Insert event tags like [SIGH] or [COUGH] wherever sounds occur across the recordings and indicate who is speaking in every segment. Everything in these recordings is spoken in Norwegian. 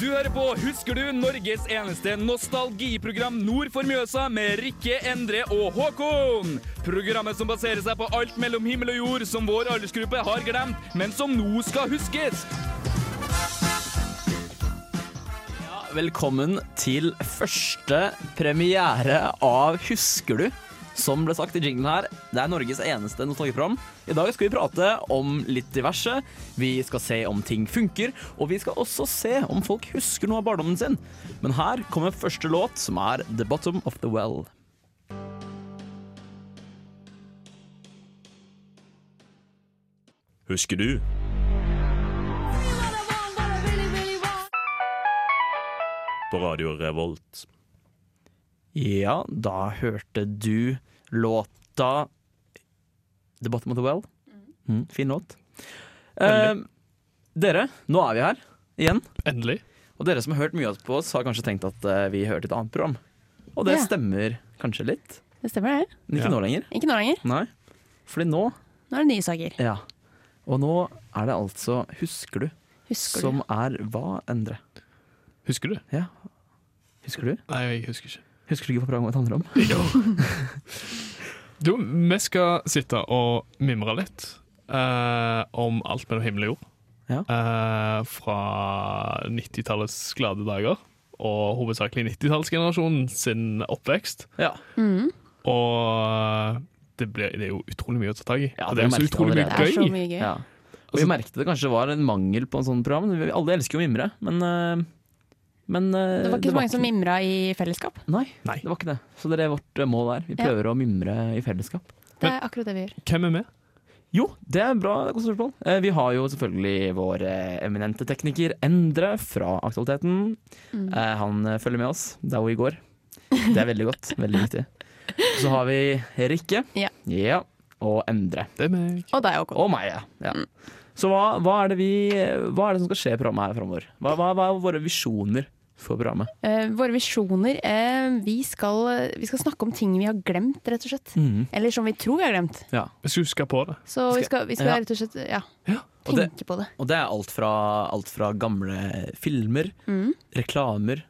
Speaker 1: Du hører på Husker du? Norges eneste nostalgiprogram nord for Mjøsa med Rikke, Endre og Håkon. Programmet som baserer seg på alt mellom himmel og jord som vår aldersgruppe har glemt, men som nå skal huskes.
Speaker 2: Velkommen til første premiere av Husker du? Som ble sagt i jinglen her, det er Norges eneste nostalgiprogram. I dag skal vi prate om litt diverse. Vi skal se om ting funker, og vi skal også se om folk husker noe av barndommen sin. Men her kommer første låt, som er The Bottom of the Well.
Speaker 3: Husker du? På Radio Revolt.
Speaker 2: Ja, da hørte du låta The Bottom of the Well. Mm, fin låt. Eh, dere, nå er vi her igjen.
Speaker 4: Endelig.
Speaker 2: Og dere som har hørt mye på oss, har kanskje tenkt at eh, vi hørte et annet program. Og det
Speaker 5: Ja.
Speaker 2: stemmer kanskje litt,
Speaker 5: Det stemmer, det.
Speaker 2: men ikke
Speaker 4: Ja.
Speaker 2: nå lenger.
Speaker 5: Ikke nå lenger.
Speaker 2: Nei. Fordi nå
Speaker 5: Nå er det nye saker.
Speaker 2: Ja. Og nå er det altså Husker du?
Speaker 5: Husker
Speaker 2: som er hva, Endre?
Speaker 4: Husker du?
Speaker 2: Ja. Husker du?
Speaker 4: Nei, jeg husker ikke.
Speaker 2: Husker du ikke hva programmet handler om?
Speaker 4: Du, vi skal sitte og mimre litt eh, om alt mellom himmel og jord.
Speaker 2: Ja.
Speaker 4: Eh, fra 90-tallets glade dager, og hovedsakelig 90-tallsgenerasjonen sin oppvekst.
Speaker 2: Ja.
Speaker 4: Og eh, det, blir, det er jo utrolig mye å ta tak i.
Speaker 2: Ja,
Speaker 4: Og
Speaker 2: det
Speaker 4: det
Speaker 2: har
Speaker 4: er jo
Speaker 2: jeg
Speaker 4: så
Speaker 2: merket
Speaker 4: utrolig
Speaker 5: du?
Speaker 4: mye
Speaker 2: allerede.
Speaker 5: Det er så
Speaker 4: gøy.
Speaker 5: mye gøy.
Speaker 2: ja. Og vi merket det kanskje var en mangel på en sånn program. Vi- Alle elsker jo å mimre, men, eh, men eh,
Speaker 5: Det var ikke så mange som mimra i fellesskap.
Speaker 2: Nei,
Speaker 4: Nei.
Speaker 2: det var ikke det. Så det er vårt eh, mål her. Vi
Speaker 5: Ja.
Speaker 2: prøver å mimre i fellesskap.
Speaker 5: Det er akkurat det vi gjør.
Speaker 4: Hvem er vi?
Speaker 2: Jo, det er bra godt spørsmål. Eh, Vi har jo selvfølgelig vår eh, eminente tekniker Endre fra Aktualiteten.
Speaker 5: Mm.
Speaker 2: Eh, Han eh, følger med oss. Det er jo i går. Det er veldig
Speaker 5: [LAUGHS]
Speaker 2: godt. Veldig viktig. Så har vi Rikke.
Speaker 5: Ja.
Speaker 2: Og Endre.
Speaker 4: Det er meg.
Speaker 5: Og deg, Håkon.
Speaker 2: Og meg, ja. ja.
Speaker 5: Mm.
Speaker 2: Så hva, hva, er det vi, hva er det som skal skje i programmet her framover? Hva, hva, hva er våre visjoner for programmet?
Speaker 5: Eh, våre visjoner. eh, vi, skal, vi skal snakke om ting vi har glemt, rett og slett. Eller som vi tror vi har glemt.
Speaker 2: Mhm. Ja.
Speaker 4: Hvis du husker på det.
Speaker 5: Så vi skal, vi skal
Speaker 2: Ja.
Speaker 5: rett og slett ja,
Speaker 2: Og det,
Speaker 5: tenke på det.
Speaker 2: og det er alt fra, alt fra gamle filmer, reklamer,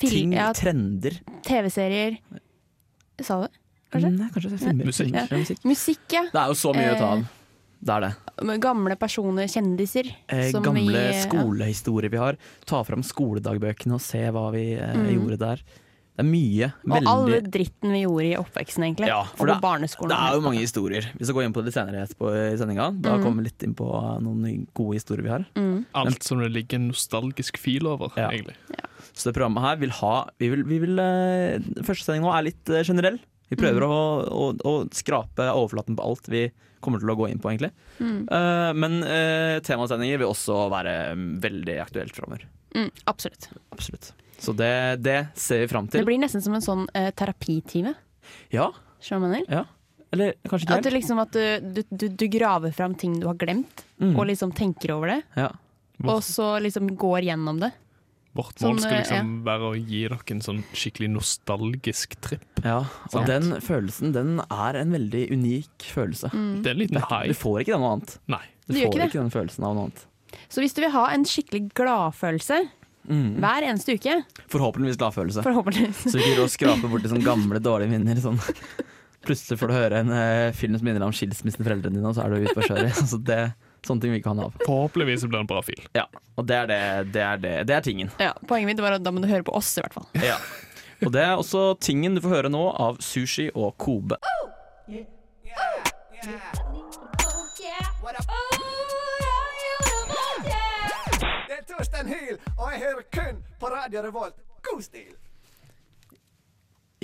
Speaker 5: Fil-
Speaker 2: ting,
Speaker 5: Mm. ja,
Speaker 2: trender.
Speaker 5: TV-serier. Sa du det? Kanskje?
Speaker 2: Nei, Mm, kanskje det er filmer.
Speaker 4: Musikk.
Speaker 2: Filmer,
Speaker 5: Ja.
Speaker 2: musikk.
Speaker 5: Musikk, ja.
Speaker 2: Det er jo så mye å ta av.
Speaker 5: Eh,
Speaker 2: Det er det.
Speaker 5: Med Gamle personer, kjendiser.
Speaker 2: Eh,
Speaker 5: som
Speaker 2: gamle
Speaker 5: vi, ja.
Speaker 2: skolehistorier vi har. Ta fram skoledagbøkene og se hva vi eh, gjorde der. Det er mye.
Speaker 5: Mm. Og
Speaker 2: veldig
Speaker 5: alle dritten vi gjorde i oppveksten, egentlig.
Speaker 2: Ja,
Speaker 5: og
Speaker 2: for
Speaker 5: på barneskolen.
Speaker 2: Det er jo mange historier. Vi skal gå inn på det litt senere etterpå i sendinga.
Speaker 5: Mm.
Speaker 2: Da kommer vi litt inn på eh, noen gode historier vi har.
Speaker 4: Alt som det ligger en nostalgisk fil over,
Speaker 2: Ja.
Speaker 4: egentlig.
Speaker 2: Så det programmet her vil ha vi vil, vi vil, eh, Første sending nå er litt eh, generell. Vi prøver
Speaker 5: Mm.
Speaker 2: å, å, å skrape overflaten på alt vi kommer til å gå inn på, egentlig.
Speaker 5: Mm.
Speaker 2: Eh, men eh, temasendinger vil også være mm, veldig aktuelt framover.
Speaker 5: Mm, absolutt.
Speaker 2: Absolutt. Så det, det ser vi fram
Speaker 5: Det
Speaker 2: til.
Speaker 5: blir nesten som en sånn eh, terapitime.
Speaker 2: Ja,
Speaker 5: Skjønner du hva jeg mener?
Speaker 2: ja. Eller kanskje ikke
Speaker 5: At du
Speaker 2: helt.
Speaker 5: liksom at du, du, du, du graver fram ting du har glemt,
Speaker 2: Mm.
Speaker 5: og liksom tenker over det.
Speaker 2: Ja.
Speaker 5: Og så liksom går gjennom det.
Speaker 4: Vårt
Speaker 5: Sånn,
Speaker 4: mål skal
Speaker 5: eh,
Speaker 4: liksom være å gi dere en sånn skikkelig nostalgisk tripp.
Speaker 2: ja. Og
Speaker 4: Sant.
Speaker 2: den følelsen, den er en veldig unik følelse.
Speaker 4: Det er en
Speaker 2: Du
Speaker 4: liten high.
Speaker 2: får ikke den noe annet.
Speaker 4: Nei.
Speaker 2: Du,
Speaker 5: Mm. Du
Speaker 2: får
Speaker 5: gjør
Speaker 2: ikke,
Speaker 5: ikke
Speaker 2: den
Speaker 5: det.
Speaker 2: følelsen av noe annet.
Speaker 5: Så hvis du vil ha en skikkelig gladfølelse
Speaker 2: Mm.
Speaker 5: hver eneste uke,
Speaker 2: Forhåpentligvis gladfølelse. Så
Speaker 5: forhåpentligvis
Speaker 2: vi gidder å skrape bort i sånne gamle, dårlige minner. Sånn. Plutselig får du høre en eh, film som minner deg om skilsmissen til foreldrene dine, og så er du ute på kjøret. [LAUGHS] Så det, sånne ting vil vi ikke ha noe av.
Speaker 4: Forhåpentligvis blir det en bra fil.
Speaker 2: Ja, og det er, det, det er, det. Det er tingen.
Speaker 5: ja, [LAUGHS] Poenget mitt var at da må du høre på oss, i hvert fall.
Speaker 2: Ja. Og det er også tingen du får høre nå av Sushi og Kobe.
Speaker 6: Det er Torstein Hyl, og jeg hører kun på Radio Revolt. God stil!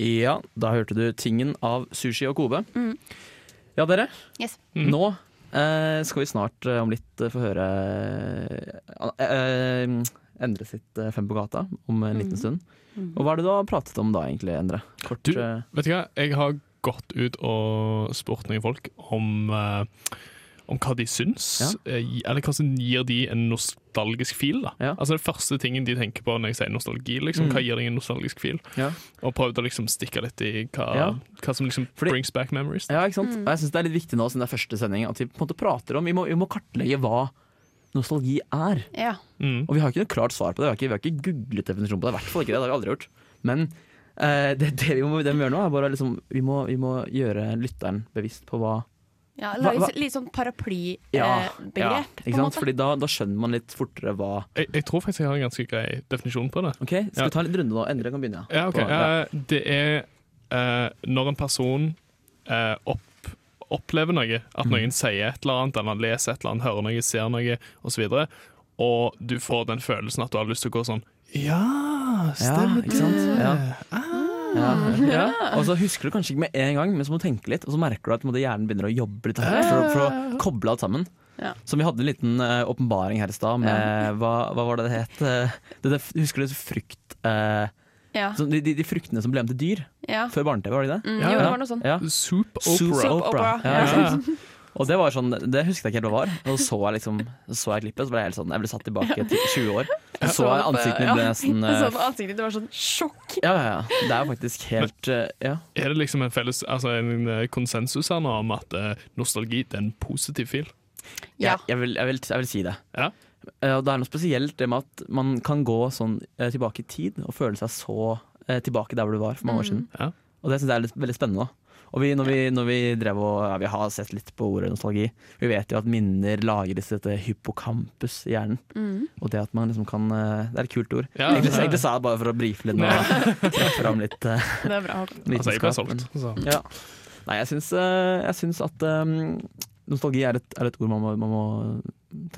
Speaker 2: Ja, da hørte du tingen av Sushi og Kobe. Ja, dere.
Speaker 5: Yes.
Speaker 2: Nå eh, skal vi snart eh, om litt eh, få høre eh, eh, Endre sitt eh, Fem på gata om en liten stund.
Speaker 5: Mm.
Speaker 2: Og hva er det du har pratet om da, egentlig, Endre? Kort,
Speaker 4: Du,
Speaker 2: eh,
Speaker 4: vet du hva? Jeg har gått ut og spurt noen folk om, eh, om hva de syns. eh, gi- Eller hva som gir de en nostalgisk fil. da.
Speaker 2: Ja.
Speaker 4: Altså Det første tingen de tenker på når jeg sier nostalgi, liksom, hva gir deg en nostalgisk fil?
Speaker 2: ja.
Speaker 4: Og prøvd å liksom stikke litt i hva,
Speaker 2: Ja.
Speaker 4: hva som liksom
Speaker 2: Fordi-
Speaker 4: brings back memories.
Speaker 2: Ja, ikke sant? Og jeg synes det er litt viktig nå, siden det er første sending, at vi på en måte prater om Vi må, vi må kartlegge hva nostalgi er.
Speaker 5: Ja.
Speaker 4: Mm.
Speaker 2: Og vi har ikke noe klart svar på det. Vi har ikke, vi har ikke googlet definisjonen på det. I hvert fall ikke det. Det har vi aldri gjort. Men eh, det, det, vi må, det vi må gjøre nå, er bare liksom Vi må, vi må gjøre lytteren bevisst på hva
Speaker 5: ja
Speaker 2: Hva-
Speaker 5: Lage
Speaker 2: hva-
Speaker 5: et litt sånn paraplybegrep, eh,
Speaker 2: Ja, ja,
Speaker 5: på
Speaker 2: ikke
Speaker 5: en
Speaker 2: sant?
Speaker 5: måte.
Speaker 2: Fordi da, da skjønner man litt fortere hva
Speaker 4: Jeg, jeg tror faktisk jeg har en ganske grei definisjon på det.
Speaker 2: Ok, Skal
Speaker 4: Ja.
Speaker 2: vi ta en liten runde nå? Endre kan begynne.
Speaker 4: Ja, ok.
Speaker 2: På- ja.
Speaker 4: Eh, det er eh, når en person eh, opp, opplever noe, at
Speaker 2: Mhm.
Speaker 4: noen sier et eller annet, eller leser et eller annet, hører noe, ser noe, osv., og, og du får den følelsen at du har lyst til å gå sånn Ja,
Speaker 2: Ja,
Speaker 4: stemmer
Speaker 2: ikke sant? Ja. Ja.
Speaker 4: Ja.
Speaker 2: Og så husker du kanskje ikke med en gang, men så må du tenke litt, og så merker du at på en måte, hjernen begynner å jobbe litt hardt for, å- for å koble alt sammen.
Speaker 5: Ja.
Speaker 2: Så vi hadde en liten eh, åpenbaring her i stad med hva, hva var det det het eh, det, det, Husker du frukt eh,
Speaker 5: Ja.
Speaker 2: sånn, de, de, de fruktene som ble om til dyr
Speaker 5: ja.
Speaker 2: før barne-TV, var de det?
Speaker 5: Mm,
Speaker 4: Ja,
Speaker 5: jo,
Speaker 4: ja.
Speaker 5: det var noe sånn.
Speaker 2: Ja.
Speaker 4: Soup
Speaker 2: Soup
Speaker 4: opera.
Speaker 5: opera.
Speaker 2: Ja,
Speaker 5: Ja.
Speaker 2: ikke sant? Og det var sånn, det husket jeg ikke helt hva var. Og så så jeg liksom, så jeg klippet, så ble jeg helt sånn, jeg ble satt tilbake til 20 år. Og så jeg ansiktet mitt ble nesten
Speaker 5: [LAUGHS] Jeg så
Speaker 2: eh,
Speaker 5: på ansiktet ditt, det var sånn sjokk.
Speaker 2: Ja, ja, ja. Det er faktisk helt eh, Ja.
Speaker 4: Er det liksom en felles altså en eh, konsensus her nå om at eh, nostalgi det er en positiv fil?
Speaker 5: Ja.
Speaker 2: Jeg, jeg, vil, jeg, vil, jeg vil si det.
Speaker 4: Ja.
Speaker 2: Eh, Og det er noe spesielt det med at man kan gå sånn eh, tilbake i tid og føle seg så eh, tilbake der hvor du var for
Speaker 5: Mm.
Speaker 2: mange år siden.
Speaker 4: Ja.
Speaker 2: Og det syns jeg er litt, veldig spennende. da. Og vi, når, vi, når vi drev og ja, Vi har sett litt på ordet nostalgi. Vi vet jo at minner lagres i dette hippocampus i hjernen.
Speaker 5: Mm.
Speaker 2: Og det at man liksom kan eh, Det er et kult ord.
Speaker 4: Ja,
Speaker 2: egentlig,
Speaker 4: ja, ja.
Speaker 2: egentlig sa jeg det bare for å brife litt nå. Trekke fram litt eh,
Speaker 5: Det er bra.
Speaker 4: [LAUGHS]
Speaker 5: Håkon.
Speaker 4: Altså, jeg ble
Speaker 2: vitenskap.
Speaker 4: solgt. Så.
Speaker 2: Ja. Nei, jeg syns, eh, jeg syns at eh, nostalgi er et, er et ord man må, man må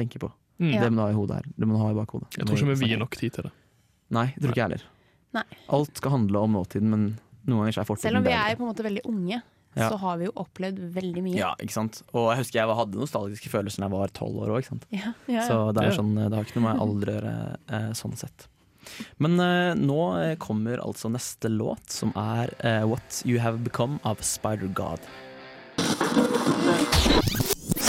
Speaker 2: tenke på.
Speaker 4: Mm.
Speaker 5: Ja.
Speaker 2: Det må du ha i hodet her. Det må du ha i bakhodet.
Speaker 4: Jeg tror ikke vi vier nok tid til det.
Speaker 2: Nei, jeg tror ikke jeg heller.
Speaker 5: Nei.
Speaker 2: Alt skal handle om nåtiden, men noen ganger så er
Speaker 5: Selv
Speaker 2: fortiden
Speaker 5: om vi er
Speaker 2: bedre.
Speaker 5: på en måte veldig unge,
Speaker 2: Ja.
Speaker 5: så har vi jo opplevd veldig mye.
Speaker 2: Ja, ikke sant? Og jeg husker jeg hadde nostalgiske følelser da jeg var tolv år òg.
Speaker 5: [LAUGHS] Ja, ja, ja.
Speaker 2: Så det, er
Speaker 4: Ja.
Speaker 2: sånn, det har ikke noe med alder å gjøre eh, sånn sett. Men eh, nå eh, kommer altså neste låt, som er eh, What You Have Become av Spider God.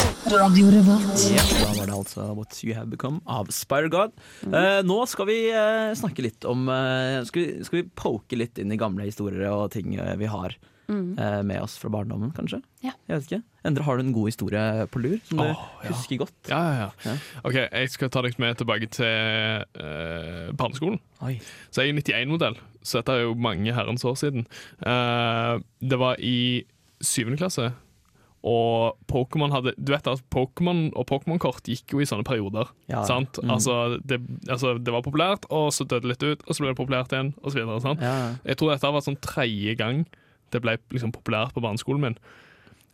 Speaker 2: Ja, da var det altså What You Have Become av Spider God. Eh, nå skal vi eh, snakke litt om eh, skal, vi, skal vi poke litt inn i gamle historier og ting eh, vi har eh, med oss fra barndommen, kanskje?
Speaker 5: Ja.
Speaker 2: Jeg vet ikke. Endre, har du en god historie på lur som du
Speaker 4: Åh, ja.
Speaker 2: husker godt?
Speaker 4: Ja, ja,
Speaker 2: Ja.
Speaker 4: ja. OK, jeg skal ta deg med tilbake til eh, barneskolen.
Speaker 2: Oi.
Speaker 4: Så jeg er 91-modell, så dette er jo mange herrens år siden. Eh, det var i syvende klasse, og Pokémon hadde Du vet at Pokémon og Pokémon-kort gikk jo i sånne perioder.
Speaker 2: Ja.
Speaker 4: sant?
Speaker 2: Mm.
Speaker 4: Altså, det, altså, det var populært, og så døde det litt ut, og så ble det populært igjen, og så videre. sant?
Speaker 2: Ja, ja.
Speaker 4: Jeg tror dette var sånn tredje gang det ble liksom populært på barneskolen min.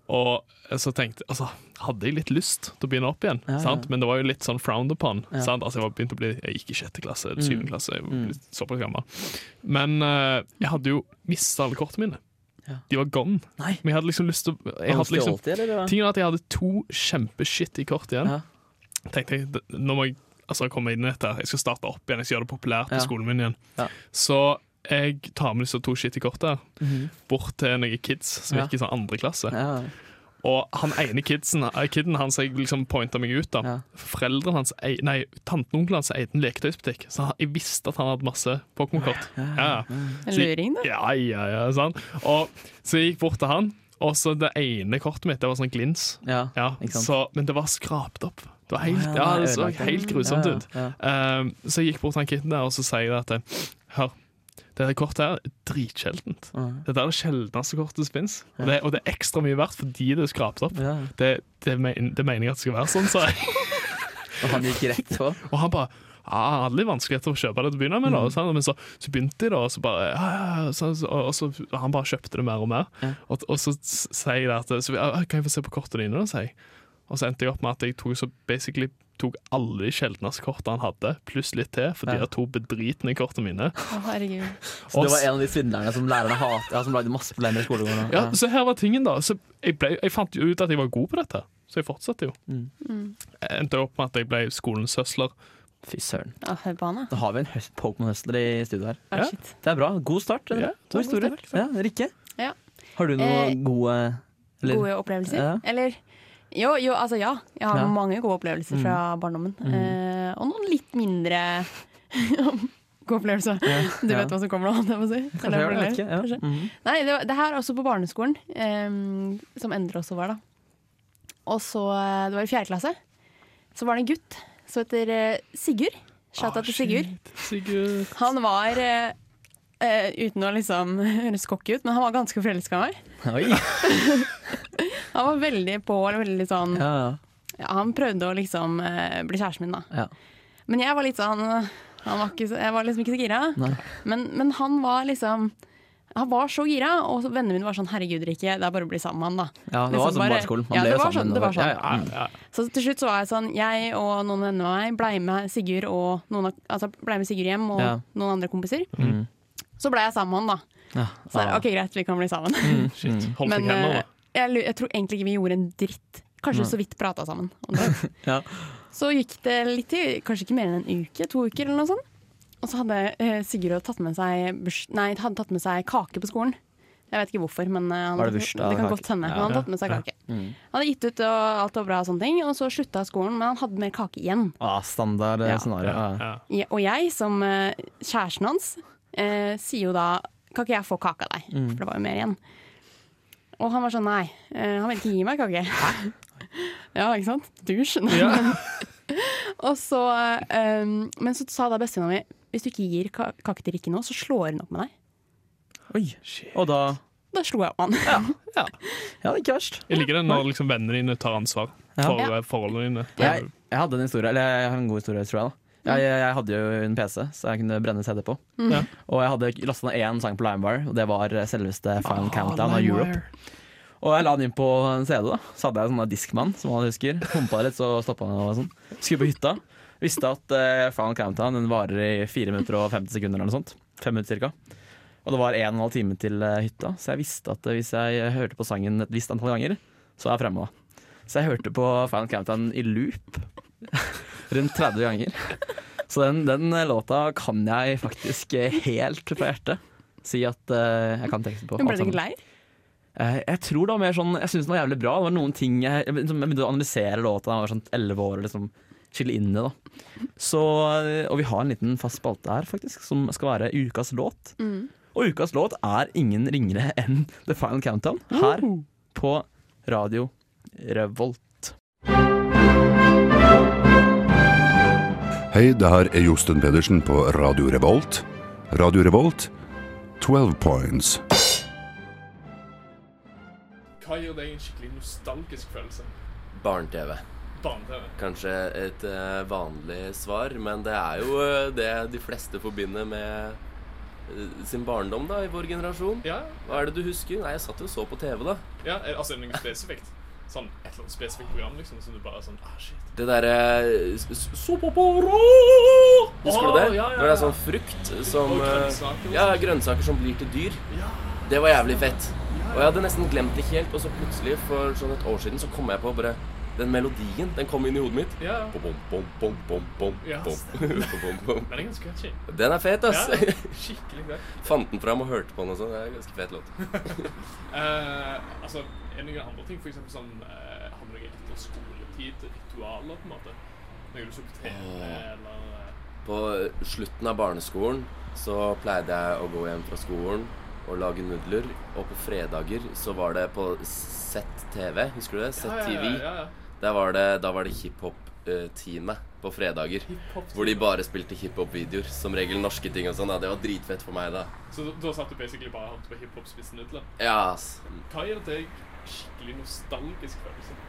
Speaker 4: Og så tenkte altså, Hadde jeg litt lyst til å begynne opp igjen?
Speaker 2: Ja, ja.
Speaker 4: sant? Men det var jo litt sånn frowned upon.
Speaker 2: Ja.
Speaker 4: sant? Altså, jeg var begynt å bli, jeg gikk i sjette klasse, eller syvende klasse. Jeg
Speaker 2: Mm.
Speaker 4: var litt såpass gammel. Men eh, jeg hadde jo mista alle kortene mine.
Speaker 2: Ja.
Speaker 4: De var gone.
Speaker 2: Nei.
Speaker 4: Men jeg hadde liksom lyst til å- jeg hadde liksom, Tingen er at jeg hadde to kjempeshitty kort igjen.
Speaker 2: Ja.
Speaker 4: Tenkte jeg, d- Nå må jeg altså, komme inn i dette. her. Jeg skal starte opp igjen. Jeg skal gjøre det populært på
Speaker 2: Ja.
Speaker 4: skolen min igjen.
Speaker 2: Ja.
Speaker 4: Så jeg tar med disse to shitty korta bort til noen kids som
Speaker 2: Mhm. Ja.
Speaker 4: gikk i sånn andre klasse.
Speaker 2: Ja, ja.
Speaker 4: Og han ene kidsen, eh, kidden hans jeg liksom pointa meg ut, da.
Speaker 2: Ja.
Speaker 4: Foreldrene hans, ei- nei, tanten og onkelen hans eide en leketøysbutikk, så han- jeg visste at han hadde masse Pokémon-kort. Ja.
Speaker 5: En luring, da.
Speaker 4: Ja, ja, ja, sant? Og, så jeg gikk bort til han, og så det ene kortet mitt, det var sånn glins.
Speaker 2: Ja,
Speaker 4: Ja,
Speaker 2: ikke sant?
Speaker 4: så, men det var skrapt opp. Det, var helt,
Speaker 2: Å, ja,
Speaker 4: ja,
Speaker 2: det
Speaker 4: det
Speaker 2: er
Speaker 4: så
Speaker 2: ødelagt, ja.
Speaker 4: helt grusomt
Speaker 2: Ja, ja,
Speaker 4: ut. Um, så jeg gikk bort til han kitten der og så sier jeg at Hør, det her kortet her er dritsjeldent.
Speaker 2: Ja.
Speaker 4: Dette er det sjeldneste kortet som fins, og, det- og det er ekstra mye verdt fordi det er skrapt opp.
Speaker 2: Ja.
Speaker 4: Det, det, men, det mener jeg at det skal være sånn, sa jeg.
Speaker 2: Og han gikk rett på.
Speaker 4: Og han bare Ah, det er litt vanskelig å kjøpe det til å begynne med, da.
Speaker 2: Mm.
Speaker 4: Og sånn, men så, så begynte de, da, og så bare ja, ja, ja, så, så- og, og så Han bare kjøpte det mer og mer.
Speaker 2: Ja.
Speaker 4: Og, og så s- sier de at så, vi, «Ah, Kan jeg få se på kortene dine, da? sier jeg. Og så endte jeg opp med at jeg tok, så basically tok alle de sjeldneste kortene han hadde, pluss litt til, for
Speaker 2: Ja.
Speaker 4: de har to bedritne kortene mine.
Speaker 2: [LAUGHS]
Speaker 5: Å, herregud.
Speaker 2: Så det
Speaker 4: Og
Speaker 2: var en av de svindlerne som lærerne hater, ja, som lagde masse problemer i skolegården.
Speaker 4: Ja, Så her var tingen, da. Så jeg, ble, jeg fant jo ut at jeg var god på dette, så jeg fortsatte jo.
Speaker 2: Mm.
Speaker 5: Mm.
Speaker 4: Jeg endte opp med at jeg ble skolens høsler.
Speaker 2: Fy søren.
Speaker 5: Ja, hør på han, da.
Speaker 2: Da har vi en høst- Pokémon-høstler i studio her.
Speaker 5: Ah,
Speaker 4: Ja.
Speaker 5: shit.
Speaker 2: Det er bra. God start. Endre.
Speaker 4: Ja,
Speaker 2: God
Speaker 4: det var
Speaker 2: historie.
Speaker 4: god
Speaker 2: Ja, Rikke,
Speaker 5: Ja.
Speaker 2: har du noen
Speaker 5: Eh,
Speaker 2: gode eller-
Speaker 5: Gode opplevelser?
Speaker 2: Ja.
Speaker 5: Eller jo, jo, altså ja. Jeg har
Speaker 2: Ja. Mm.
Speaker 5: mange gode opplevelser fra barndommen. Eh, og noen litt mindre [LAUGHS] gode opplevelser. [LAUGHS] Du
Speaker 2: ja.
Speaker 5: vet hva som kommer nå? holdt jeg på å si.
Speaker 2: Kanskje
Speaker 5: Eller
Speaker 2: jeg
Speaker 5: hvordan
Speaker 2: vet
Speaker 5: det er.
Speaker 2: ikke, ja.
Speaker 5: Kanskje.
Speaker 2: Mhm.
Speaker 5: Nei, det, var- det her er også på barneskolen, eh, som Endre også var da. Og så, eh, det var i fjerde klasse, så var det en gutt som heter eh, Sigurd. Shoutout
Speaker 2: Ah,
Speaker 5: til Sigurd.
Speaker 2: [LAUGHS]
Speaker 4: Sigurd.
Speaker 5: Han var eh, eh, Uten å liksom [LAUGHS] høres cocky ut, men han var ganske forelska i meg.
Speaker 2: Oi.
Speaker 5: Han var veldig på eller veldig sånn
Speaker 2: Ja,
Speaker 5: ja, Han prøvde å liksom eh, bli kjæresten min, da.
Speaker 2: ja.
Speaker 5: Men jeg var litt sånn han var ikke, så- Jeg var liksom ikke så gira.
Speaker 2: Nei.
Speaker 5: Men, men han var liksom han var så gira, og så vennene mine var sånn 'herregud, Rikke, det er bare å bli sammen med han', da.
Speaker 2: ja det var
Speaker 5: Liksom
Speaker 2: som
Speaker 5: bare-
Speaker 2: barneskolen. Man
Speaker 5: ja,
Speaker 2: ble
Speaker 5: det
Speaker 2: jo
Speaker 5: var
Speaker 2: sammen,
Speaker 5: sånn, det
Speaker 2: og-
Speaker 5: var sånn.
Speaker 2: Ja, ja.
Speaker 4: Ja.
Speaker 5: Så til slutt så var jeg sånn Jeg og noen venner av meg ble med Sigurd og noen av, altså ble med Sigurd hjem og
Speaker 2: Ja.
Speaker 5: noen andre kompiser.
Speaker 2: Mm.
Speaker 5: Så ble jeg sammen med han, da.
Speaker 2: Ja. Ah. Mm.
Speaker 5: Så jeg, OK, greit, vi kan bli sammen.
Speaker 4: Shit. Holdt
Speaker 5: [LAUGHS] Men
Speaker 4: deg hender, da.
Speaker 5: eh, jeg, lu- jeg tror egentlig ikke vi gjorde en dritt. Kanskje så vidt prata sammen. om det.
Speaker 2: Ja.
Speaker 5: Så gikk det litt tid, kanskje ikke mer enn en uke, to uker eller noe sånt. Og så hadde eh, Sigurd tatt med, seg burs, nei, hadde tatt med seg kake på skolen. Jeg vet ikke hvorfor, men eh, han,
Speaker 2: Var det bursdag,
Speaker 5: kan
Speaker 2: kake?
Speaker 5: godt hende.
Speaker 2: Ja. Mm.
Speaker 5: Men han hadde tatt med seg
Speaker 4: Ja.
Speaker 5: kake. Han hadde gitt ut og alt var bra, og sånne ting, og så slutta skolen, men han hadde mer kake igjen.
Speaker 2: Ah, standard eh,
Speaker 5: Ja.
Speaker 2: scenario. Ja.
Speaker 4: Ja.
Speaker 5: Ja, og jeg, som eh, kjæresten hans, eh, sier jo da Kan ikke jeg få kake av deg?
Speaker 2: Mm.
Speaker 5: For det var jo mer igjen. Og han var sånn nei, eh, han vil ikke gi meg kake. [LAUGHS] ja, ikke sant? Du [LAUGHS] skjønner. og så, eh, men så sa da bestevenninna mi hvis du ikke gir ka- kake til Rikke nå, så slår hun opp med deg.
Speaker 2: Oi. Og da
Speaker 5: Da slo jeg opp med [LAUGHS] han.
Speaker 2: Ja, det er ikke verst.
Speaker 4: Jeg liker det når liksom vennene dine tar ansvar
Speaker 2: Ja.
Speaker 4: for
Speaker 5: Ja.
Speaker 4: eh, forholdene dine. Det er-
Speaker 2: Jeg, jeg hadde en historie, eller jeg har en god historie, tror jeg. da jeg, jeg, jeg hadde jo en PC, så jeg kunne brenne CD på.
Speaker 4: Ja.
Speaker 2: Og jeg hadde lasta ned én sang på LimeWire, og det var selveste Final Countdown av Europe. Og jeg la den inn på en CD, da. Så hadde jeg en sånn der diskmann, som alle husker. Pumpa litt, så stoppa den og sånn. Skulle på hytta. Visste at eh, Final Countdown den varer i 4 minutter og 50 sekunder eller noe sånt. 5 minutter cirka. Og det var 1 12 time til eh, hytta, så jeg visste at eh, hvis jeg hørte på sangen et visst antall ganger, så var jeg fremme. da. Så jeg hørte på Final Countdown i loop [LAUGHS] rundt 30 ganger. Så den, den eh, låta kan jeg faktisk eh, helt fra hjertet si at eh, jeg kan teksten på.
Speaker 5: Hun
Speaker 2: alt
Speaker 5: ble
Speaker 2: sammen.
Speaker 5: ikke lei.
Speaker 2: Eh, Jeg tror det var mer sånn Jeg synes den var jævlig bra. Det var noen ting Jeg, jeg liksom- jeg begynte å analysere låta da jeg var sånn 11 år. og Liksom, Chille inne, da. Så, eh, og vi har en liten fast spalte her, faktisk, som skal være ukas låt. Og ukas låt er ingen ringere enn The Final Countdown her på Radio Revolt.
Speaker 7: Hei, det her er Josten Pedersen på Radio Revolt. Radio Revolt, 12 points.
Speaker 4: Hva gir deg en skikkelig nostalgisk følelse?
Speaker 8: Barne-TV.
Speaker 4: Barne-TV.
Speaker 8: Kanskje et eh, vanlig svar, men det er jo eh, det de fleste forbinder med eh, sin barndom, da, i vår generasjon.
Speaker 4: Ja,
Speaker 8: Hva er det du husker? Nei, jeg satt jo og så på TV, da.
Speaker 4: ja, er- altså er det noe spesifikt? Sånn et eller annet spesifikt program liksom, som du bare er sånn ah, shit.
Speaker 8: Det eh, derre Sopoporo! Husker du det?
Speaker 4: Å, ja, ja,
Speaker 8: Når det er
Speaker 4: ja.
Speaker 8: sånn frukt som
Speaker 4: Og
Speaker 8: eh,
Speaker 4: grønnsaker og
Speaker 8: Ja, grønnsaker som blir til dyr. Det var jævlig fett. Og jeg hadde nesten glemt det helt, og så plutselig, for sånn et år siden, så kom jeg på bare den melodien, den kom inn i hodet mitt.
Speaker 4: Ja, ja.
Speaker 8: Bom, bom, bom, bom, bom, bom,
Speaker 4: Ja,
Speaker 8: bom. Bom, bom.
Speaker 4: Den er ganske catchy.
Speaker 8: Den er fet,
Speaker 4: Ja,
Speaker 8: ass.
Speaker 4: skikkelig fett.
Speaker 8: [LAUGHS] Fant den fram og hørte på den og sånn. Det er en ganske fet låt.
Speaker 4: Eh, altså, er det noen andre ting? For eksempel sånn eh, Har du noe etter skoletid? Ritualer, på en måte? Noe du så på TV, eller eh,
Speaker 8: På slutten av barneskolen så pleide jeg å gå hjem fra skolen og lage nudler. Og på fredager så var det på ZTV, husker du det? ZTV.
Speaker 4: Ja, ja, ja.
Speaker 8: Der var det, da var det hiphop-teamet på fredager.
Speaker 4: Hiphop-teamet.
Speaker 8: Hvor de bare spilte hiphop-videoer. Som regel norske ting og sånn. da. Det var dritfett for meg, da.
Speaker 4: Så da, da satt du basically bare og hørte på liksom. hiphop spiste nudler.
Speaker 8: Ja, ass.
Speaker 4: Hva gir deg skikkelig nostalgisk følelse?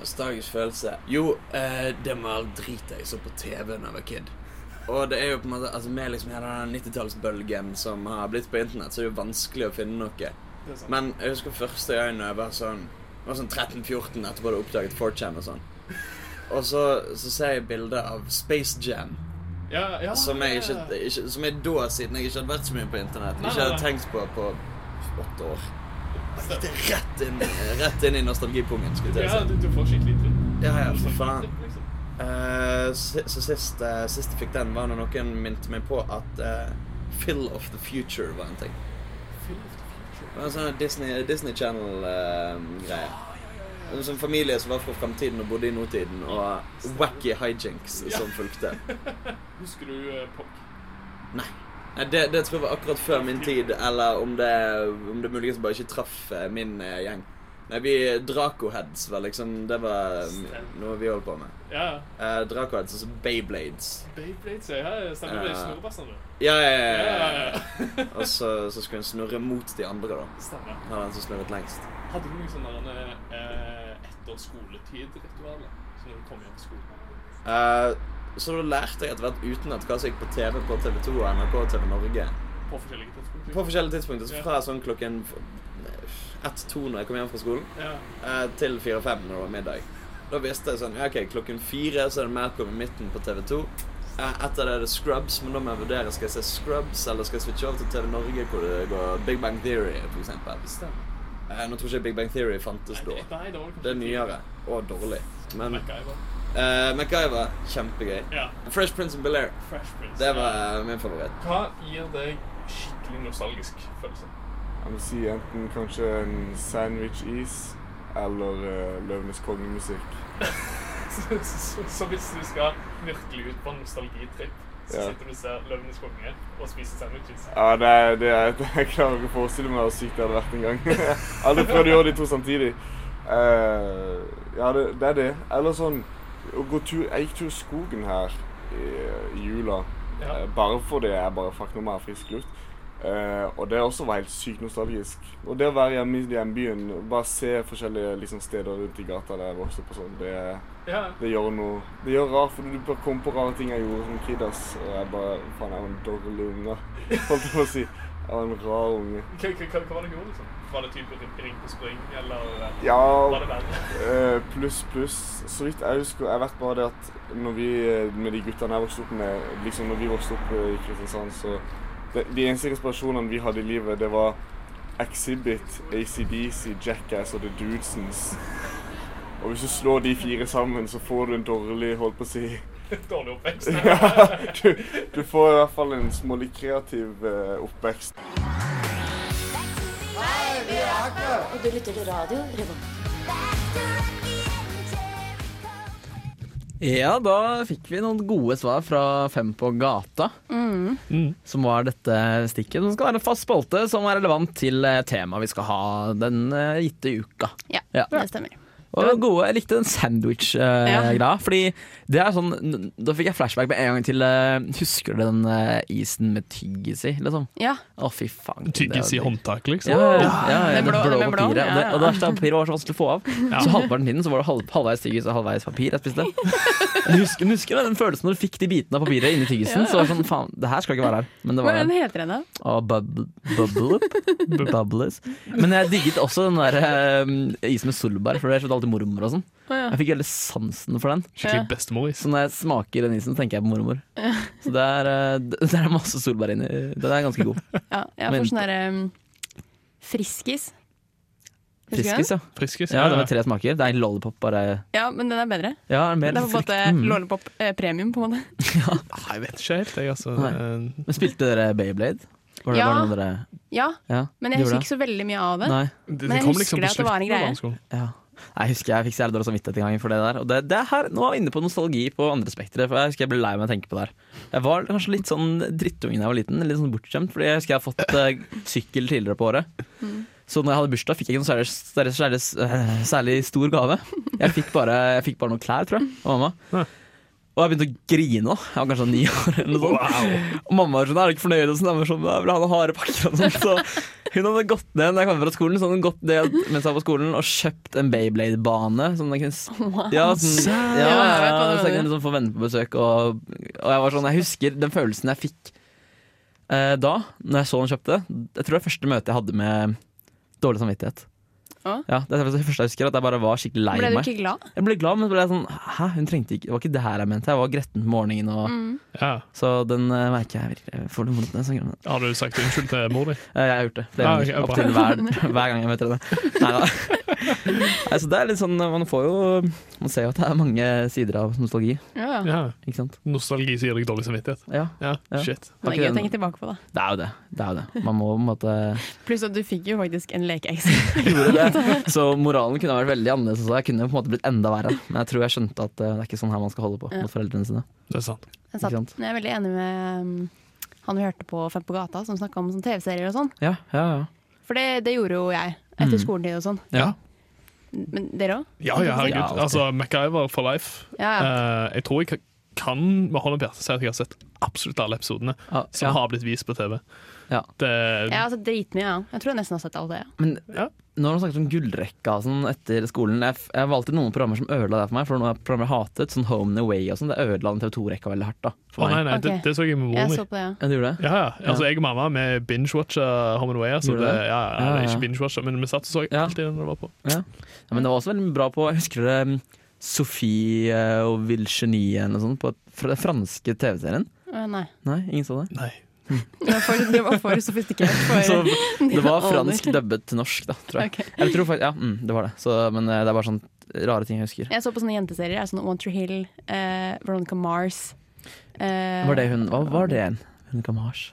Speaker 9: Nostalgisk følelse. Jo, eh, det var drit jeg så på TV da jeg var kid. Og det er jo på en måte, altså med liksom hele den 90-tallsbølgen som har blitt på internett, så er det jo vanskelig å finne noe.
Speaker 4: Det er sant.
Speaker 9: Men jeg husker første gangen jeg var sånn, jeg var sånn 13-14 etterpå hadde oppdaget 4chan og sånn. Og så, så ser jeg bilder av Space Jam,
Speaker 4: ja, ja,
Speaker 9: som jeg,
Speaker 4: ja,
Speaker 9: ikke, ikke, som jeg da, siden jeg ikke hadde vært så mye på internett,
Speaker 4: Ah. Nei,
Speaker 9: ikke hadde
Speaker 4: nei, nei.
Speaker 9: tenkt på på åtte år. Det er rett inn, rett inn i nostalgipungen, skulle jeg
Speaker 4: ja,
Speaker 9: si.
Speaker 4: du, du får skikkelig dritt.
Speaker 9: Ja, ja, for faen.
Speaker 4: Dritt, liksom.
Speaker 9: Eh, si- så sist, eh, sist jeg fikk den, var når noen minte meg på at eh, Phil of the Future var en ting.
Speaker 4: Film of the future.
Speaker 9: Det var en sånn Disney, Disney Channel-greie.
Speaker 4: Ah,
Speaker 9: en sånn familie som var fra framtiden og bodde i nåtiden, og wacky hijinks som fulgte.
Speaker 4: Husker du eh, Pop?
Speaker 9: Nei, Det, det tror jeg var akkurat før min tid, eller om det, om det muligens bare ikke traff eh, min eh, gjeng. Nei, vi Dracoheads var liksom Det var mm, noe vi holdt på med.
Speaker 4: Ja,
Speaker 9: Eh, Dracoheads, altså Bayblades.
Speaker 4: Beyblades, ja. Stemmer det? Snurrebassene.
Speaker 9: Ja, ja, ja.
Speaker 4: Ja,
Speaker 9: ja,
Speaker 4: ja, [LAUGHS]
Speaker 9: ja.
Speaker 4: ja.
Speaker 9: Og så, så skulle en snurre mot de andre, da.
Speaker 4: Stemmer.
Speaker 9: Han er den som snurret lengst.
Speaker 4: Hadde du noen sånne eh, etter skoletid-ritualer? Så når du kom hjem fra skolen?
Speaker 9: Eh, så da lærte jeg etter hvert utenat hva som gikk på TV på TV2 og NRK og TV Norge.
Speaker 4: På forskjellige liksom? tidspunkter?
Speaker 9: På forskjellige tidspunkter. Så
Speaker 4: Ja.
Speaker 9: fra sånn klokken f- ett-to når jeg kom hjem fra skolen,
Speaker 4: Ja.
Speaker 9: eh, til fire-fem når det var middag. Da visste jeg sånn ja, OK, klokken fire så er det Malcolm i midten på TV2. Eh, etter det er det Scrubs, men da må jeg vurdere skal jeg se Scrubs eller skal jeg switche over til TV Norge hvor det går Big Bang Theory, for eksempel.
Speaker 4: Stemmer.
Speaker 9: Eh, nå tror jeg ikke Big Bang Theory fantes da.
Speaker 4: Nei, det- nei, det var kanskje
Speaker 9: Det er nyere og dårlig. Men
Speaker 4: MacGyver.
Speaker 9: eh, MacGyver, kjempegøy.
Speaker 4: Ja.
Speaker 9: Fresh Prince of Bel-Air.
Speaker 4: Fresh Prince.
Speaker 9: Det var eh, min favoritt.
Speaker 4: Hva gir deg skikkelig nostalgisk følelse?
Speaker 10: Jeg må si enten kanskje en sandwich is eller eh, Løvenes kongemusikk.
Speaker 4: så, så, [LAUGHS] så hvis du skal virkelig ut på en nostalgitripp, så
Speaker 10: Ja.
Speaker 4: sitter du og ser Løvenes konge og spiser sandwiches.
Speaker 10: Ja, nei, det, er- jeg klarer ikke å forestille meg hvor sykt det hadde vært en gang. [LAUGHS] Jeg har Aldri prøvd å gjøre de to samtidig. Eh, ja, det, det er det. Eller sånn å gå tur Jeg gikk tur i skogen her i, i jula.
Speaker 4: Ja.
Speaker 10: Eh, bare fordi jeg bare Fuck, nå må jeg ha frisk luft. Eh, og det også var helt sykt nostalgisk. Og det å være hjemme i hjembyen, bare se forskjellige liksom, steder rundt i gata der jeg vokste opp og sånn, det er
Speaker 4: Ja.
Speaker 10: det gjør noe Det gjør rart, for du bare kom på rare ting jeg gjorde som kid. ass. Og jeg bare Faen, jeg var en dårlig unge. [LAUGHS] Holdt jeg på å si. Jeg var en rar unge.
Speaker 4: Hva, hva, hva hva var det du gjorde, liksom? Var det type ring- ring på spring, eller eh,
Speaker 10: Ja,
Speaker 4: var det verre?
Speaker 10: eh, pluss, pluss. Så vidt jeg husker Jeg vet bare det at når vi eh, med de guttene jeg vokste opp med Liksom når vi vokste opp eh, i Kristiansand, så det, De eneste inspirasjonene vi hadde i livet, det var Exhibit, ACDC, Jackass og The Dudesons. Og hvis du slår de fire sammen, så får du en dårlig, holdt på å si
Speaker 4: [LAUGHS] Dårlig oppvekst?
Speaker 10: Ja, du, du får i hvert fall en smålig kreativ eh, oppvekst.
Speaker 2: Ja, da fikk vi noen gode svar fra Fem på gata. Som var dette stikket som skal være en fast spalte som er relevant til eh, temaet vi skal ha den eh, gitte uka.
Speaker 5: Ja,
Speaker 2: Ja.
Speaker 5: det stemmer.
Speaker 2: Og det var gode, Jeg likte den sandwich-greia. [LAUGHS] fordi det er sånn n- Da fikk jeg flashback med en gang til eh, Husker du den eh, isen med tyggis i, liksom?
Speaker 5: Ja,
Speaker 2: Å, fy faen.
Speaker 4: [LAUGHS] Tyggis
Speaker 2: det
Speaker 4: i
Speaker 2: var-
Speaker 4: håndtak, liksom?
Speaker 2: Ja, ja, ja, ja,
Speaker 5: Med
Speaker 2: det
Speaker 5: blå-
Speaker 2: blå
Speaker 5: med
Speaker 2: papiret.
Speaker 5: blå,
Speaker 2: Og det,
Speaker 5: ja.
Speaker 2: og det verste er at papiret var så vanskelig å få av. Så halvparten av tiden så var det halv, halvveis tyggis og halvveis papir jeg
Speaker 5: [LAUGHS]
Speaker 2: spiste. Men Du husker, du husker det, den følelsen når du fikk de bitene av papiret inni tyggisen? Så var det sånn, faen, det her skal ikke være her. Men det
Speaker 5: Hva
Speaker 2: var
Speaker 5: er
Speaker 2: her.
Speaker 5: den heter den da?
Speaker 2: Og bub, bubble up. Bubbles. Men jeg digget også den der eh, is med solbær, for det kjøpte alltid mormor og sånn.
Speaker 5: Å, ja.
Speaker 2: Jeg fikk hele sansen for den.
Speaker 4: Skikkelig bestemoris.
Speaker 2: Så når jeg smaker den isen, tenker jeg på mormor. Så det er, eh, det det er masse solbær inni. Den er ganske god.
Speaker 5: Ja, jeg
Speaker 2: Men-
Speaker 5: får sånn der um, friskis. Husker du den?
Speaker 2: Friskis, ja.
Speaker 4: Friskis?
Speaker 2: Ja, det var tre smaker. Det er en lollipop, bare
Speaker 5: Ja, men den er bedre.
Speaker 2: Ja, er
Speaker 5: Det
Speaker 2: mer
Speaker 5: er på en måte
Speaker 2: frykten.
Speaker 5: lollipop eh, premium, på en måte.
Speaker 4: Nei, jeg vet ikke helt, jeg, altså.
Speaker 2: Nei.
Speaker 4: Eh,
Speaker 2: Mm. Men spilte dere Beyblade? Var det
Speaker 5: Ja.
Speaker 2: bare noe dere
Speaker 5: [LAUGHS] Ja,
Speaker 2: ja,
Speaker 5: men jeg
Speaker 2: gjorde
Speaker 5: husker ikke så veldig mye av
Speaker 2: det?
Speaker 5: det.
Speaker 2: Nei.
Speaker 4: Det,
Speaker 5: Men jeg
Speaker 4: kom
Speaker 5: husker
Speaker 4: liksom på
Speaker 5: at det var en
Speaker 4: slutten av
Speaker 5: greie.
Speaker 4: barneskolen.
Speaker 2: Ja. Nei, jeg husker jeg fikk så jævlig dårlig samvittighet en gang for det der. Og det, det er her, nå er vi inne på nostalgi på andre spekteret, for jeg husker jeg ble lei meg av å tenke på det her. Jeg var kanskje litt sånn drittunge da jeg var liten, litt sånn bortskjemt, fordi jeg husker jeg har fått eh, sykkel tidligere på året. Så når jeg hadde bursdag, fikk jeg ikke noe særlig, særlig, særlig, eh, særlig stor gave. Jeg fikk bare, jeg fikk bare noen klær, tror jeg, av mamma.
Speaker 4: Ja.
Speaker 2: Og jeg begynte å grine da. Jeg var kanskje ni år eller noe sånt. Og mamma var sånn, er du ikke fornøyd? Og sånn, jeg var sånn, jeg vil ha noen harde pakker og sånn. Så hun hadde gått ned når jeg kom fra skolen, så hadde hun gått ned mens jeg var på skolen og kjøpt en Beyblade-bane. Sånn jeg kunne sp- ja, sånn, ja, ja,
Speaker 5: Ja, jeg vet
Speaker 2: ja, så jeg
Speaker 5: hva du mener.
Speaker 2: kunne liksom få venner på besøk. Og, og jeg var sånn, jeg husker den følelsen jeg fikk eh, da, når jeg så hun kjøpte. Jeg tror det var første møtet jeg hadde med dårlig samvittighet.
Speaker 5: Å?
Speaker 2: Ja, det er det første jeg husker, at jeg bare var skikkelig lei
Speaker 5: Ble du
Speaker 2: meg.
Speaker 5: ikke glad?
Speaker 2: Jeg ble glad, men så ble jeg sånn Hæ, hun trengte ikke Det var ikke det her jeg mente. Jeg var gretten på morgenen. Og,
Speaker 5: Mm.
Speaker 4: Ja.
Speaker 2: Så den eh, merker jeg virkelig. Jeg Får det vondt når jeg snakker om det.
Speaker 4: Har du sagt unnskyld til mor di?
Speaker 2: Eh, jeg har gjort det flere
Speaker 4: Ah,
Speaker 2: ganger.
Speaker 4: ok, bra.
Speaker 2: Opptil hver, hver gang jeg møter henne.
Speaker 5: [LAUGHS]
Speaker 2: Neida. Nei, så det er litt sånn Man får jo Man ser jo at det er mange sider av nostalgi,
Speaker 5: Ja, ja.
Speaker 4: Ja.
Speaker 2: ikke sant.
Speaker 4: Nostalgi som gir deg dårlig samvittighet.
Speaker 2: Ja,
Speaker 4: Ja,
Speaker 2: Ja.
Speaker 4: shit.
Speaker 5: Det
Speaker 2: Har
Speaker 5: er
Speaker 2: ikke
Speaker 5: gøy å
Speaker 2: den-
Speaker 5: tenke tilbake på, da.
Speaker 2: det er jo det. det, er jo det. Man må på en måte
Speaker 5: Pluss at du fikk jo faktisk en lekeeks.
Speaker 2: [LAUGHS] gjorde det. Så moralen kunne vært veldig annerledes. også. Jeg kunne på en måte blitt enda verre. Men jeg tror jeg skjønte at eh, det er ikke sånn her man skal holde på
Speaker 5: Ja.
Speaker 2: mot foreldrene sine.
Speaker 4: Det er sant.
Speaker 5: Jeg satt-
Speaker 2: Ikke sant?
Speaker 5: Men jeg er veldig enig med um, han vi hørte på Fem på gata, som snakka om sånn TV-serier og sånn.
Speaker 2: Ja, ja, ja.
Speaker 5: For det, det gjorde jo jeg etter
Speaker 2: Mm.
Speaker 5: skoletid og sånn.
Speaker 2: Ja.
Speaker 5: Men dere òg?
Speaker 4: Ja, ja, herregud. altså, MacGyver for life.
Speaker 5: Ja,
Speaker 4: Eh, jeg tror jeg kan- kan med hånden på hjertet si at jeg har sett absolutt alle episodene som har blitt vist på TV. Det,
Speaker 5: Jeg har sett dritmye, ja. Jeg tror jeg nesten har sett alle det. ja.
Speaker 2: Men når man snakker om gullrekka og sånn etter skolen Jeg, f- jeg valgte noen programmer som ødela det for meg. For noen programmer jeg hatet, sånn Home and Away og sånn, det ødela den TV2-rekka veldig hardt. da
Speaker 4: Å, nei, nei, det- Ok. det så jeg med broren min.
Speaker 5: Jeg så på det, ja.
Speaker 2: Ja, du gjorde det?
Speaker 4: ja, ja. Altså, jeg og mamma vi binge-watcha Home and Away. Altså,
Speaker 2: Gjorde du
Speaker 4: det, ja,
Speaker 2: det?
Speaker 4: ja,
Speaker 2: Ja,
Speaker 4: eller
Speaker 2: ja.
Speaker 4: Ikke binge-watcha, men vi satt og så alltid når det var på.
Speaker 2: Ja. ja, Men det var også veldig bra på Jeg husker dere mm, Sophie eh, og Vilchenie eller noe sånt på fra den franske TV-serien?
Speaker 5: Å, Nei.
Speaker 2: Nei, ingen så det?
Speaker 4: Nei.
Speaker 5: Det var for, det var for sofistikert. For
Speaker 2: [LAUGHS] Så det
Speaker 5: dine
Speaker 2: var
Speaker 5: aner.
Speaker 2: fransk dubbet til norsk, da, tror jeg.
Speaker 5: Ok.
Speaker 2: Jeg tror faktisk, Ja, mm, det var det. Så, men eh, det er bare sånn rare ting jeg husker.
Speaker 5: Jeg så på sånne jenteserier. jeg, Sånn One Tree Hill, eh, Veronica Mars. eh,
Speaker 2: Var det hun Hva var det igjen? Hun Gamage?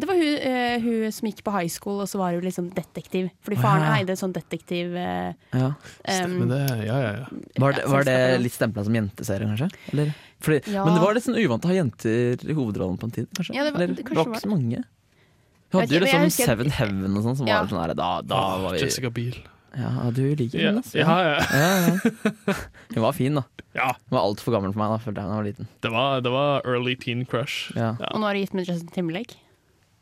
Speaker 5: Det var hun, eh, hun som gikk på high school, og så var hun liksom detektiv. Fordi
Speaker 2: Å,
Speaker 5: faren
Speaker 2: ja.
Speaker 5: eide et sånt detektiv... Eh,
Speaker 2: Ja.
Speaker 5: Stemmer
Speaker 4: det. Ja, ja, ja.
Speaker 2: Var
Speaker 5: Ja,
Speaker 2: det,
Speaker 5: som
Speaker 2: var det
Speaker 5: skapte det.
Speaker 2: litt stempla som jenteserie, kanskje? Eller? Fordi,
Speaker 5: Ja.
Speaker 2: Men det var litt sånn uvant å ha jenter i hovedrollen på en tid, kanskje?
Speaker 5: Ja, det var-
Speaker 2: Eller,
Speaker 5: det kanskje
Speaker 2: det var
Speaker 5: var-
Speaker 2: ikke så mange.
Speaker 5: Jeg
Speaker 2: Du hadde jo
Speaker 5: vet ikke, men jeg
Speaker 2: liksom
Speaker 5: husker-
Speaker 2: Seven Heaven og sånn, som
Speaker 5: Ja.
Speaker 2: var sånn her Da, da
Speaker 4: Åh,
Speaker 2: var vi
Speaker 4: Jessica Biel.
Speaker 2: Ja, du liker
Speaker 4: Ja.
Speaker 2: henne, altså.
Speaker 4: Ja, ja.
Speaker 2: ja. Hun var fin, da. Hun var altfor gammel for meg da, følte jeg da jeg var liten.
Speaker 4: Det var, det var early teen crush.
Speaker 2: Ja.
Speaker 5: Og nå er hun gift med Justin Timberlake.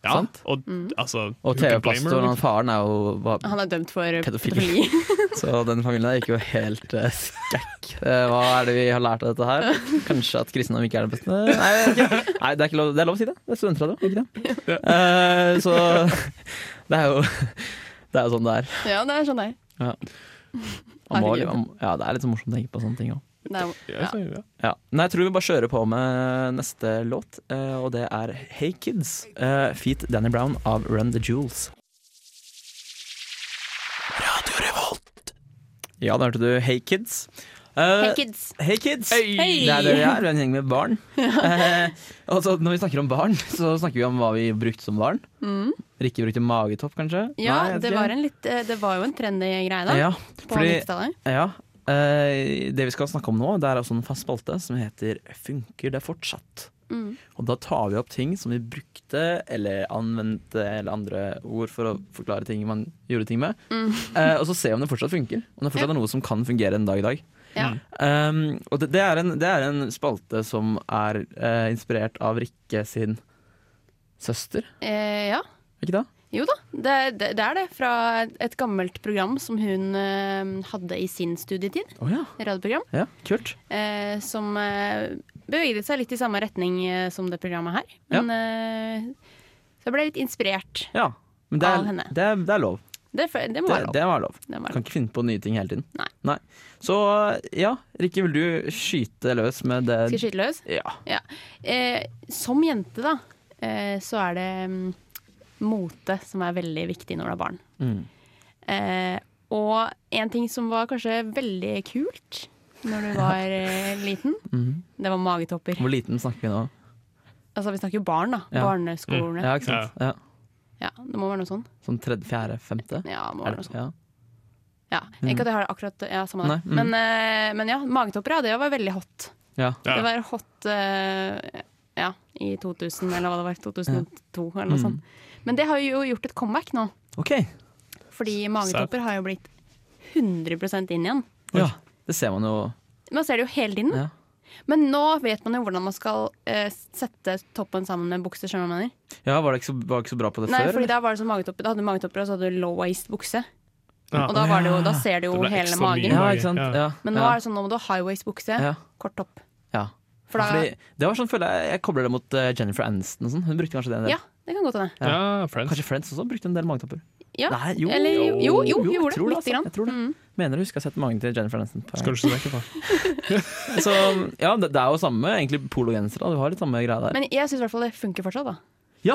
Speaker 4: Ja, Og,
Speaker 5: Mm.
Speaker 4: altså, who
Speaker 2: Og
Speaker 4: could blame her,
Speaker 2: TV-pastoren og
Speaker 4: liksom?
Speaker 2: faren er jo var
Speaker 5: Han er dømt for eh,
Speaker 2: pedofil.
Speaker 5: pedofili. [LAUGHS]
Speaker 2: Så den familien der gikk jo helt uh, skækk. Eh, hva er det vi har lært av dette her? Kanskje at kristendom ikke er det beste? Nei, jeg vet ikke. Nei det, er ikke lov, det er lov å si det. Det er studentradio, ikke det? Eh, så det er jo Det er jo sånn det er.
Speaker 5: ja, det er sånn det er.
Speaker 2: Ja. Man må,
Speaker 5: Herregud.
Speaker 2: man, ja, det er litt så morsomt å tenke på sånne ting òg.
Speaker 5: Det er ja.
Speaker 2: Ja. Nei, jeg tror vi bare kjører på med neste låt, eh, og det er Hey Kids. Uh, Feat Danny Brown av Run The Jewels. Ja, da hørte du Hey Kids. Eh,
Speaker 5: Hey Kids.
Speaker 2: Hey Kids!
Speaker 5: Hey.
Speaker 2: Det er det vi er, vi er en gjeng med
Speaker 5: [LAUGHS]
Speaker 2: barn. Eh, og så når vi snakker om barn, så snakker vi om hva vi brukte som barn.
Speaker 5: Mm.
Speaker 2: Rikke brukte magetopp, kanskje?
Speaker 5: Ja,
Speaker 2: Nei, jeg vet
Speaker 5: det
Speaker 2: ikke.
Speaker 5: var, en litt, eh, det var jo en trendy greie da.
Speaker 2: Ja,
Speaker 5: på
Speaker 2: fordi-
Speaker 5: 90-tallet.
Speaker 2: Ja. eh, det vi skal snakke om nå, det er altså en fast spalte som heter Funker det fortsatt?
Speaker 5: Mm.
Speaker 2: Og da tar vi opp ting som vi brukte eller anvendte eller andre ord for å forklare ting man gjorde ting med.
Speaker 5: Mm.
Speaker 2: [LAUGHS] Eh, og så se om det fortsatt funker. Om det fortsatt er noe som kan fungere en dag i dag.
Speaker 5: Ja.
Speaker 2: Um, og det, det, er en, det er en spalte som er eh, inspirert av Rikke sin søster,
Speaker 5: Eh, ja.
Speaker 2: ikke da?
Speaker 5: Jo da, det, det, det er det. Fra et, et gammelt program som hun eh, hadde i sin studietid.
Speaker 2: Å ja.
Speaker 5: Radioprogram.
Speaker 2: Ja, kult.
Speaker 5: eh, som eh, beveget seg litt i samme retning eh, som det programmet her.
Speaker 2: Ja.
Speaker 5: Men, eh, så jeg ble litt inspirert.
Speaker 2: Ja. Men det
Speaker 5: Av
Speaker 2: er,
Speaker 5: henne.
Speaker 2: det er, det er lov.
Speaker 5: Det, fø- det må
Speaker 2: Det,
Speaker 5: være lov.
Speaker 2: det var lov.
Speaker 5: Det må være
Speaker 2: Kan ikke finne på nye ting hele tiden.
Speaker 5: Nei.
Speaker 2: Så ja, Rikke, vil du skyte løs med det?
Speaker 5: Skal jeg skyte løs?
Speaker 2: Ja.
Speaker 5: Ja. Eh, som jente, da, eh, så er det mm, mote som er veldig viktig når du er barn.
Speaker 2: Mm.
Speaker 5: Eh, og en ting som var kanskje veldig kult når du
Speaker 2: [LAUGHS]
Speaker 5: var eh, liten,
Speaker 2: Mhm.
Speaker 5: det var magetopper.
Speaker 2: Hvor liten snakker vi nå?
Speaker 5: Altså, vi snakker jo barn, da.
Speaker 2: Ja. Mm.
Speaker 5: Barneskolene.
Speaker 2: Ja, ikke sant? Ja.
Speaker 5: Ja, det må være noe sånn.
Speaker 2: Sånn tredje, fjerde, femte?
Speaker 5: Ja, må
Speaker 2: Er
Speaker 5: være noe sånn.
Speaker 2: det-
Speaker 5: sånt.
Speaker 2: ja.
Speaker 5: Ja, Ikke at jeg har det akkurat ja, samme det.
Speaker 2: Mm. Nei, mm.
Speaker 5: Men, eh, men ja, magetopper ja, det var veldig hot.
Speaker 2: Ja.
Speaker 5: Det var hot eh, ja, i 2000, eller hva det var. 2002 eller noe
Speaker 2: Mm.
Speaker 5: sånt. Men det har jo gjort et comeback nå.
Speaker 2: OK.
Speaker 5: Fordi magetopper har jo blitt 100 inn igjen.
Speaker 2: Ja, det ser man jo.
Speaker 5: Man ser det jo hele tiden.
Speaker 2: Ja.
Speaker 5: Men nå vet man jo hvordan man skal eh, sette toppen sammen med bukser. skjønner du hva jeg mener?
Speaker 2: Ja, Var det ikke så, var det ikke så bra på det
Speaker 5: Nei,
Speaker 2: før?
Speaker 5: fordi
Speaker 2: eller?
Speaker 5: da var det sånn magetopper Da hadde du magetopper og så hadde du low waist bukse.
Speaker 2: Ja.
Speaker 5: Og da, var det jo, da
Speaker 2: Ja.
Speaker 5: ser du jo
Speaker 2: Det ble
Speaker 5: hele
Speaker 2: ekstra mye
Speaker 5: magen.
Speaker 2: mage, Ja, ikke sant? ja. Ja.
Speaker 5: Men nå
Speaker 2: Ja.
Speaker 5: er det sånn, nå må du ha high waist bukse,
Speaker 2: Ja.
Speaker 5: kort topp.
Speaker 2: Ja.
Speaker 5: For da-
Speaker 2: Ja, fordi, det var sånn, føler jeg, jeg kobler det mot eh, Jennifer Aniston. og Sånn. Hun brukte kanskje det en del.
Speaker 5: Ja, det kan godt hende.
Speaker 4: Friends.
Speaker 2: Kanskje Friends også brukte en del magetopper.
Speaker 5: Ja,
Speaker 2: Nei, jo,
Speaker 5: eller jo, jo, jo,
Speaker 2: jo,
Speaker 5: vi
Speaker 2: jeg
Speaker 5: gjorde det.
Speaker 2: tror det,
Speaker 5: Lite
Speaker 2: altså.
Speaker 5: grann.
Speaker 2: Jeg tror det.
Speaker 5: Mm.
Speaker 2: Mener du husker jeg har sett magen til Jennifer Aniston? på-
Speaker 4: Skal du ikke se vekk fra?
Speaker 2: Så ja, det, det er jo samme egentlig pologenser. da. Du har litt samme greia der.
Speaker 5: Men jeg syns i hvert fall det funker fortsatt, da.
Speaker 2: ja,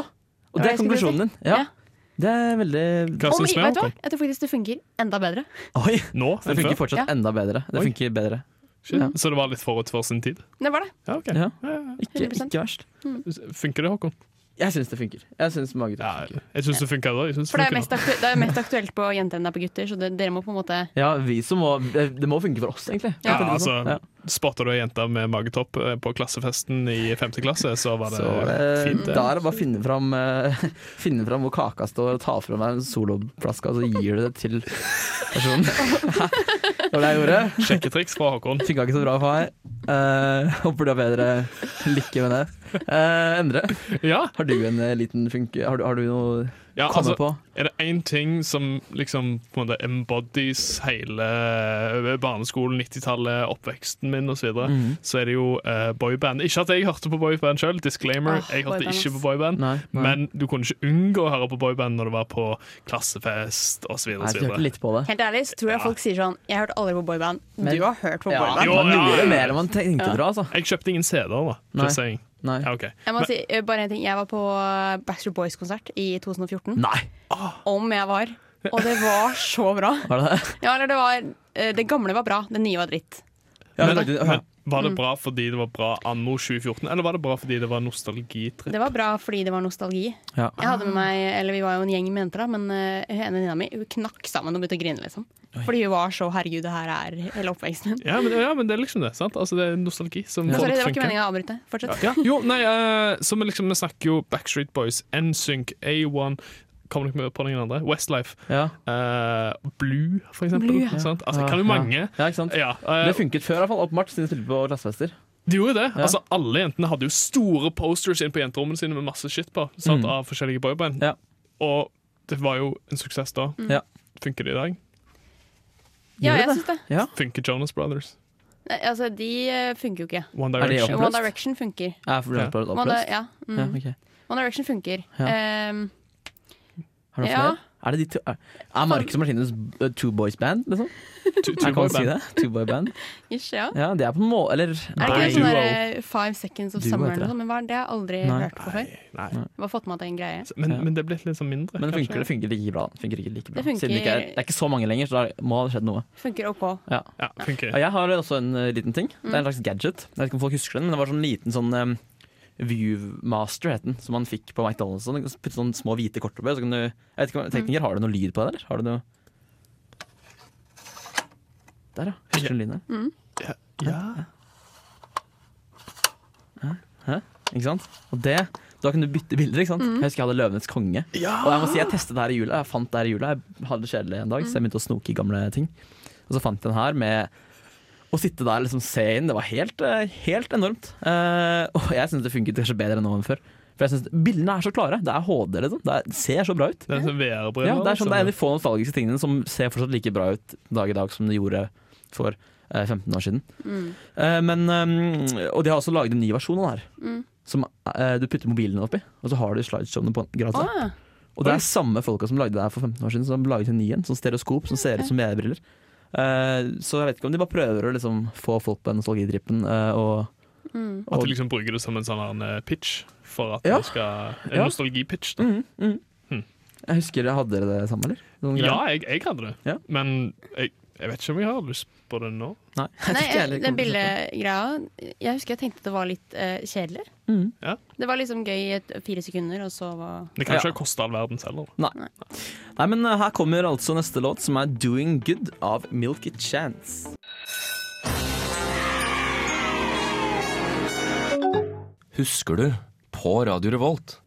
Speaker 2: og det
Speaker 5: Hva
Speaker 2: er
Speaker 5: skulle du si?
Speaker 2: konklusjonen din. Ja. Det er veldig
Speaker 5: Om, vet du hva? Jeg tror faktisk det funker enda bedre.
Speaker 2: Oi,
Speaker 4: Nå?
Speaker 2: Det funker fortsatt
Speaker 5: Ja.
Speaker 2: enda bedre. Det
Speaker 4: Oi.
Speaker 2: funker bedre.
Speaker 4: Shit. Så det var litt forut for sin tid?
Speaker 5: Det var det.
Speaker 4: Ja, ok.
Speaker 2: Ja. Ikke,
Speaker 5: 100%.
Speaker 2: ikke verst.
Speaker 4: Funker det, Håkon?
Speaker 2: Jeg syns det funker. Jeg syns magetopper
Speaker 4: funker. Jeg syns det funker da. Jeg synes
Speaker 5: For det er
Speaker 4: funker
Speaker 5: mest,
Speaker 4: nå.
Speaker 5: aktu det er mest aktuelt på jenter enn det er på gutter, så det, dere må på en måte
Speaker 2: Ja, vi som må Det må funke for oss, egentlig.
Speaker 5: Ja.
Speaker 2: For å si det sånn.
Speaker 4: altså, spotta du ei jente med magetopp eh, på klassefesten i femte klasse, så var det
Speaker 2: Så eh,
Speaker 4: fint. det.
Speaker 2: da er det bare å finne fram, eh, [LAUGHS] finne fram hvor kaka står, og ta fra meg en soloflaske, og så gir du det til
Speaker 5: [LAUGHS]
Speaker 2: personen. [LAUGHS] det var det jeg gjorde.
Speaker 4: Sjekketriks fra
Speaker 2: [LAUGHS]
Speaker 4: Håkon.
Speaker 2: Funka ikke så bra for meg. Eh, håper du har bedre lykke med det. Eh, Endre, har du en eh, liten funke... Har du, har du noe
Speaker 4: Ja,
Speaker 2: å komme
Speaker 4: altså,
Speaker 2: på?
Speaker 4: Er det én ting som liksom på en måte embodies hele eh, barneskolen, 90-tallet, oppveksten min osv., så, videre,
Speaker 2: Mhm.
Speaker 4: så er det jo eh, boyband. Ikke at jeg hørte på boyband sjøl, disclaimer.
Speaker 2: Åh,
Speaker 4: jeg hørte
Speaker 2: boyband,
Speaker 4: ikke
Speaker 2: ass.
Speaker 4: på boyband,
Speaker 2: Nei, nei.
Speaker 4: men du kunne ikke unngå å høre på boyband når det var på klassefest osv.
Speaker 2: Nei, jeg hørte litt på det.
Speaker 5: Helt ærlig så tror jeg
Speaker 4: Ja.
Speaker 5: folk sier sånn Jeg hørte aldri på boyband.
Speaker 2: Men-
Speaker 5: du har hørt på
Speaker 2: Ja,
Speaker 5: boyband.
Speaker 2: man gjorde mer enn man tenkte
Speaker 5: Ja.
Speaker 2: tror jeg, altså.
Speaker 4: Jeg kjøpte ingen CD-er, da.
Speaker 2: Nei.
Speaker 4: Først jeg.
Speaker 2: Nei.
Speaker 4: Ja, ok.
Speaker 5: Jeg må
Speaker 4: Men-
Speaker 5: si eh, bare en ting. Jeg var på eh, Backstreet Boys-konsert i 2014.
Speaker 2: Nei.
Speaker 5: Om jeg var. Og det var så bra.
Speaker 2: Var det det?
Speaker 5: Ja, eller det var eh, Det gamle var bra, det nye var dritt.
Speaker 4: men, men
Speaker 2: Mm.
Speaker 4: var det bra fordi det var bra anno 2014, eller var det bra fordi det var nostalgitripp?
Speaker 5: Det var bra fordi det var nostalgi.
Speaker 2: Ja.
Speaker 5: Jeg hadde med meg, eller Vi var jo en gjeng med jenter, da, men eh, hun ene venninna mi hun knakk sammen og begynte å grine. liksom Fordi hun var så 'herregud, det her er hele oppveksten min'.
Speaker 4: Ja men, ja, men det er liksom det. sant? Altså, det er nostalgi som
Speaker 5: Men
Speaker 4: folk
Speaker 5: Sorry, det var ikke
Speaker 4: funker.
Speaker 5: meninga å avbryte. Fortsett.
Speaker 4: Ja, jo, nei, eh, så vi, liksom, vi snakker jo Backstreet Boys, NSYNC, A1 Kommer dere med på noen andre? Westlife. eh, Blue, for eksempel.
Speaker 2: Blue, ja.
Speaker 4: sant? Altså,
Speaker 2: Ja,
Speaker 4: kan jo
Speaker 2: Ah, ja.
Speaker 4: mange.
Speaker 2: Ja, ikke sant?
Speaker 4: Ja, eh,
Speaker 2: Det funket før, i hvert fall, åpenbart, siden de spilte på klassefester.
Speaker 4: de gjorde jo det.
Speaker 2: Ja.
Speaker 4: Altså, alle jentene hadde jo store posters inn på jenterommene sine med masse shit på sant?
Speaker 2: Mm.
Speaker 4: av forskjellige boyband. Og det var jo en suksess da.
Speaker 5: Mm. Ja.
Speaker 4: Funker det i dag?
Speaker 5: Ja, jeg syns det.
Speaker 4: Funker Jonas Brothers?
Speaker 5: Nei, Altså, De eh, funker jo ikke.
Speaker 4: One
Speaker 2: Er de
Speaker 4: Direction?
Speaker 5: One Direction funker.
Speaker 2: Ja, for det var
Speaker 5: One,
Speaker 2: oppløst.
Speaker 5: Di- ja, mm.
Speaker 2: Ja, ok.
Speaker 5: One Direction funker.
Speaker 2: Ja.
Speaker 5: Ehm,
Speaker 2: Har du noe
Speaker 5: Ja.
Speaker 2: flere? Er, det de to, er, er Marcus og Martinus uh, two boys band, liksom?
Speaker 4: Two,
Speaker 2: Jeg
Speaker 4: boy
Speaker 2: kan si det. Two boy band.
Speaker 5: ish, ja.
Speaker 2: Ja, det er på en måte Eller
Speaker 5: Er det ikke
Speaker 2: nei.
Speaker 5: sånn der eh, Five Seconds of
Speaker 2: Duo
Speaker 5: Summer
Speaker 2: heter
Speaker 5: eller
Speaker 2: det.
Speaker 5: noe sånt? Men hva er det? Jeg har aldri
Speaker 2: Nei.
Speaker 5: hørt på før.
Speaker 4: Nei.
Speaker 5: Bare fått med at det er en greie.
Speaker 4: Men,
Speaker 2: Ja.
Speaker 4: men det er blitt litt sånn mindre.
Speaker 2: Men det
Speaker 4: kanskje.
Speaker 2: funker, det funker ikke bra. Det Funker ikke like bra.
Speaker 5: Det funker-
Speaker 2: Siden det, ikke er, det er ikke så mange lenger, så da må det ha skjedd noe.
Speaker 5: Funker OK.
Speaker 2: Ja.
Speaker 4: Ja, funker.
Speaker 2: Ja, Jeg har også en eh, liten ting. Det er
Speaker 5: Mm.
Speaker 2: en slags gadget. Jeg vet ikke om folk husker den, men det var sånn liten sånn um, Viewmaster het den, som man fikk på McDonald's. Sånn, putte sånne små hvite kort oppi. Så kan du, jeg vet ikke, om- tekniker, har du noe lyd på det, eller? Har du noe Der, ja. Husker du den lyden der?
Speaker 4: Ja. ja.
Speaker 2: Hæ? Ikke sant? Og det, da kan du bytte bilder, ikke sant? Jeg husker jeg hadde Løvenes konge. Og jeg må si jeg testet det her i jula. Jeg fant det her i jula. Jeg hadde det kjedelig en dag, så jeg begynte å snoke i gamle ting. Og så fant jeg den her med å sitte der og liksom se inn. Det var helt, eh, helt enormt. Eh, og jeg syns det funket kanskje bedre nå enn før. For jeg synes Bildene er så klare. Det er HD, liksom. Det er, ser så bra ut.
Speaker 4: Det er sånn VR-briller.
Speaker 2: Ja, det er sånn, det er en av de
Speaker 4: liksom.
Speaker 2: få nostalgiske tingene som ser fortsatt like bra ut dag i dag som det gjorde for eh, 15 år siden.
Speaker 5: Mm.
Speaker 2: Eh, men, eh, og de har også laget en ny versjon av det her.
Speaker 5: Mm.
Speaker 2: Som eh, du putter mobilen din oppi, og så har du slideshowene på gratis.
Speaker 5: Å, ja.
Speaker 2: Og det er samme folka som lagde det her for 15 år siden, som har laget en ny en. Sånn stereoskop som ser ut som VR-briller. Eh, så jeg vet ikke om de bare prøver å liksom få folk på den nostalgitrippen eh, og,
Speaker 5: Mm.
Speaker 4: At
Speaker 2: og
Speaker 4: du liksom bruker det som en sånn her, eh, pitch for at
Speaker 2: Ja.
Speaker 4: du skal En
Speaker 2: Ja.
Speaker 4: nostalgipitch. da.
Speaker 2: Mhm, mhm.
Speaker 4: Hmm.
Speaker 2: Jeg husker, Hadde dere det samme, eller? Noen
Speaker 4: Ja,
Speaker 2: greier?
Speaker 4: jeg, jeg hadde det,
Speaker 2: Mm, Ja.
Speaker 4: men jeg, jeg vet ikke om jeg har lyst på det nå.
Speaker 2: Nei, [LAUGHS] jeg tror
Speaker 5: Nei,
Speaker 2: ikke jeg heller
Speaker 5: den
Speaker 2: kommer til å sette
Speaker 5: billedgreia Jeg husker jeg tenkte at det var litt eh, kjedelig.
Speaker 2: Mhm.
Speaker 4: Ja.
Speaker 5: Det var liksom gøy i et- fire sekunder, og så var
Speaker 4: Det kan
Speaker 2: Ja.
Speaker 4: ikke ha kosta all verdens heller.
Speaker 2: Nei, men eh, her kommer altså neste låt, som er 'Doing Good' av Milky Chance.
Speaker 11: Husker du? På Radio Revolt.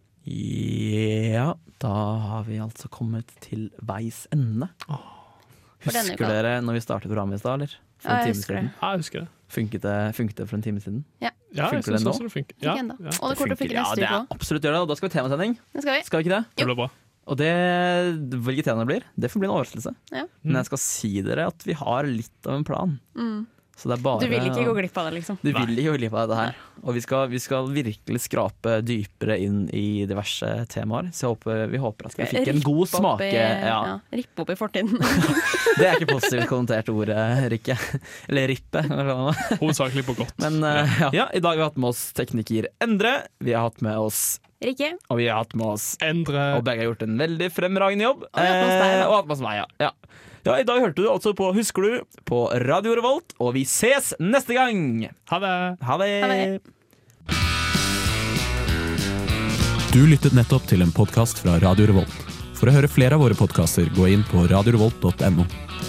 Speaker 2: Ja, da har vi altså kommet til veis ende.
Speaker 5: For denne
Speaker 2: Husker
Speaker 5: uka.
Speaker 2: dere når vi startet programmet i stad, eller? For
Speaker 5: Ja,
Speaker 2: en
Speaker 5: jeg
Speaker 2: time
Speaker 5: husker
Speaker 2: siden.
Speaker 4: Ja, jeg husker det.
Speaker 2: Funket det, funket det for en time siden?
Speaker 5: Ja.
Speaker 4: Ja, jeg
Speaker 2: funker det
Speaker 4: synes
Speaker 2: nå?
Speaker 4: også det funker.
Speaker 5: Ikke
Speaker 4: Ja,
Speaker 5: ennå.
Speaker 4: ja.
Speaker 5: Og det kommer til å funke
Speaker 2: ja,
Speaker 5: neste
Speaker 2: det
Speaker 5: uke
Speaker 2: er
Speaker 5: òg.
Speaker 2: absolutt gjør det. Og da skal vi ha temasending.
Speaker 5: Det skal vi.
Speaker 2: Skal vi ikke det?
Speaker 4: Det ble bra.
Speaker 2: Og det, hvilket tema det blir, det får bli en overraskelse.
Speaker 5: Ja.
Speaker 2: Men jeg skal si dere at vi har litt av en plan.
Speaker 5: Mm.
Speaker 2: Så det er bare
Speaker 5: Du vil ikke gå glipp av det, liksom.
Speaker 2: Du vil ikke gå glipp av dette her. Og vi skal, vi skal virkelig skrape dypere inn i diverse temaer. Så jeg håper, vi håper at vi fikk en
Speaker 5: Rippe
Speaker 2: god
Speaker 5: opp i-
Speaker 2: smake. Ja.
Speaker 5: ja, Rippe opp i fortiden.
Speaker 2: [LAUGHS] Det er ikke positivt kommentert ordet, Rikke. Eller rippe. eller hva det var.
Speaker 4: Hovedsakelig på godt.
Speaker 2: [LAUGHS] Men eh, ja. ja, i dag har vi hatt med oss tekniker Endre. Vi har hatt med oss
Speaker 5: Rikke,
Speaker 2: Og vi har hatt med oss
Speaker 4: Endre
Speaker 2: Og begge har gjort en veldig fremragende jobb.
Speaker 5: vi har hatt med oss deg, da.
Speaker 2: Eh, og hatt med oss meg, ja. ja. Ja, I dag hørte du altså på Husker du? på Radio Revolt, og vi ses neste gang!
Speaker 4: Ha det!
Speaker 2: Ha det!
Speaker 5: Ha det.
Speaker 12: Du lyttet nettopp til en podkast fra Radio Revolt. For å høre flere av våre podkaster, gå inn på radiorevolt.no.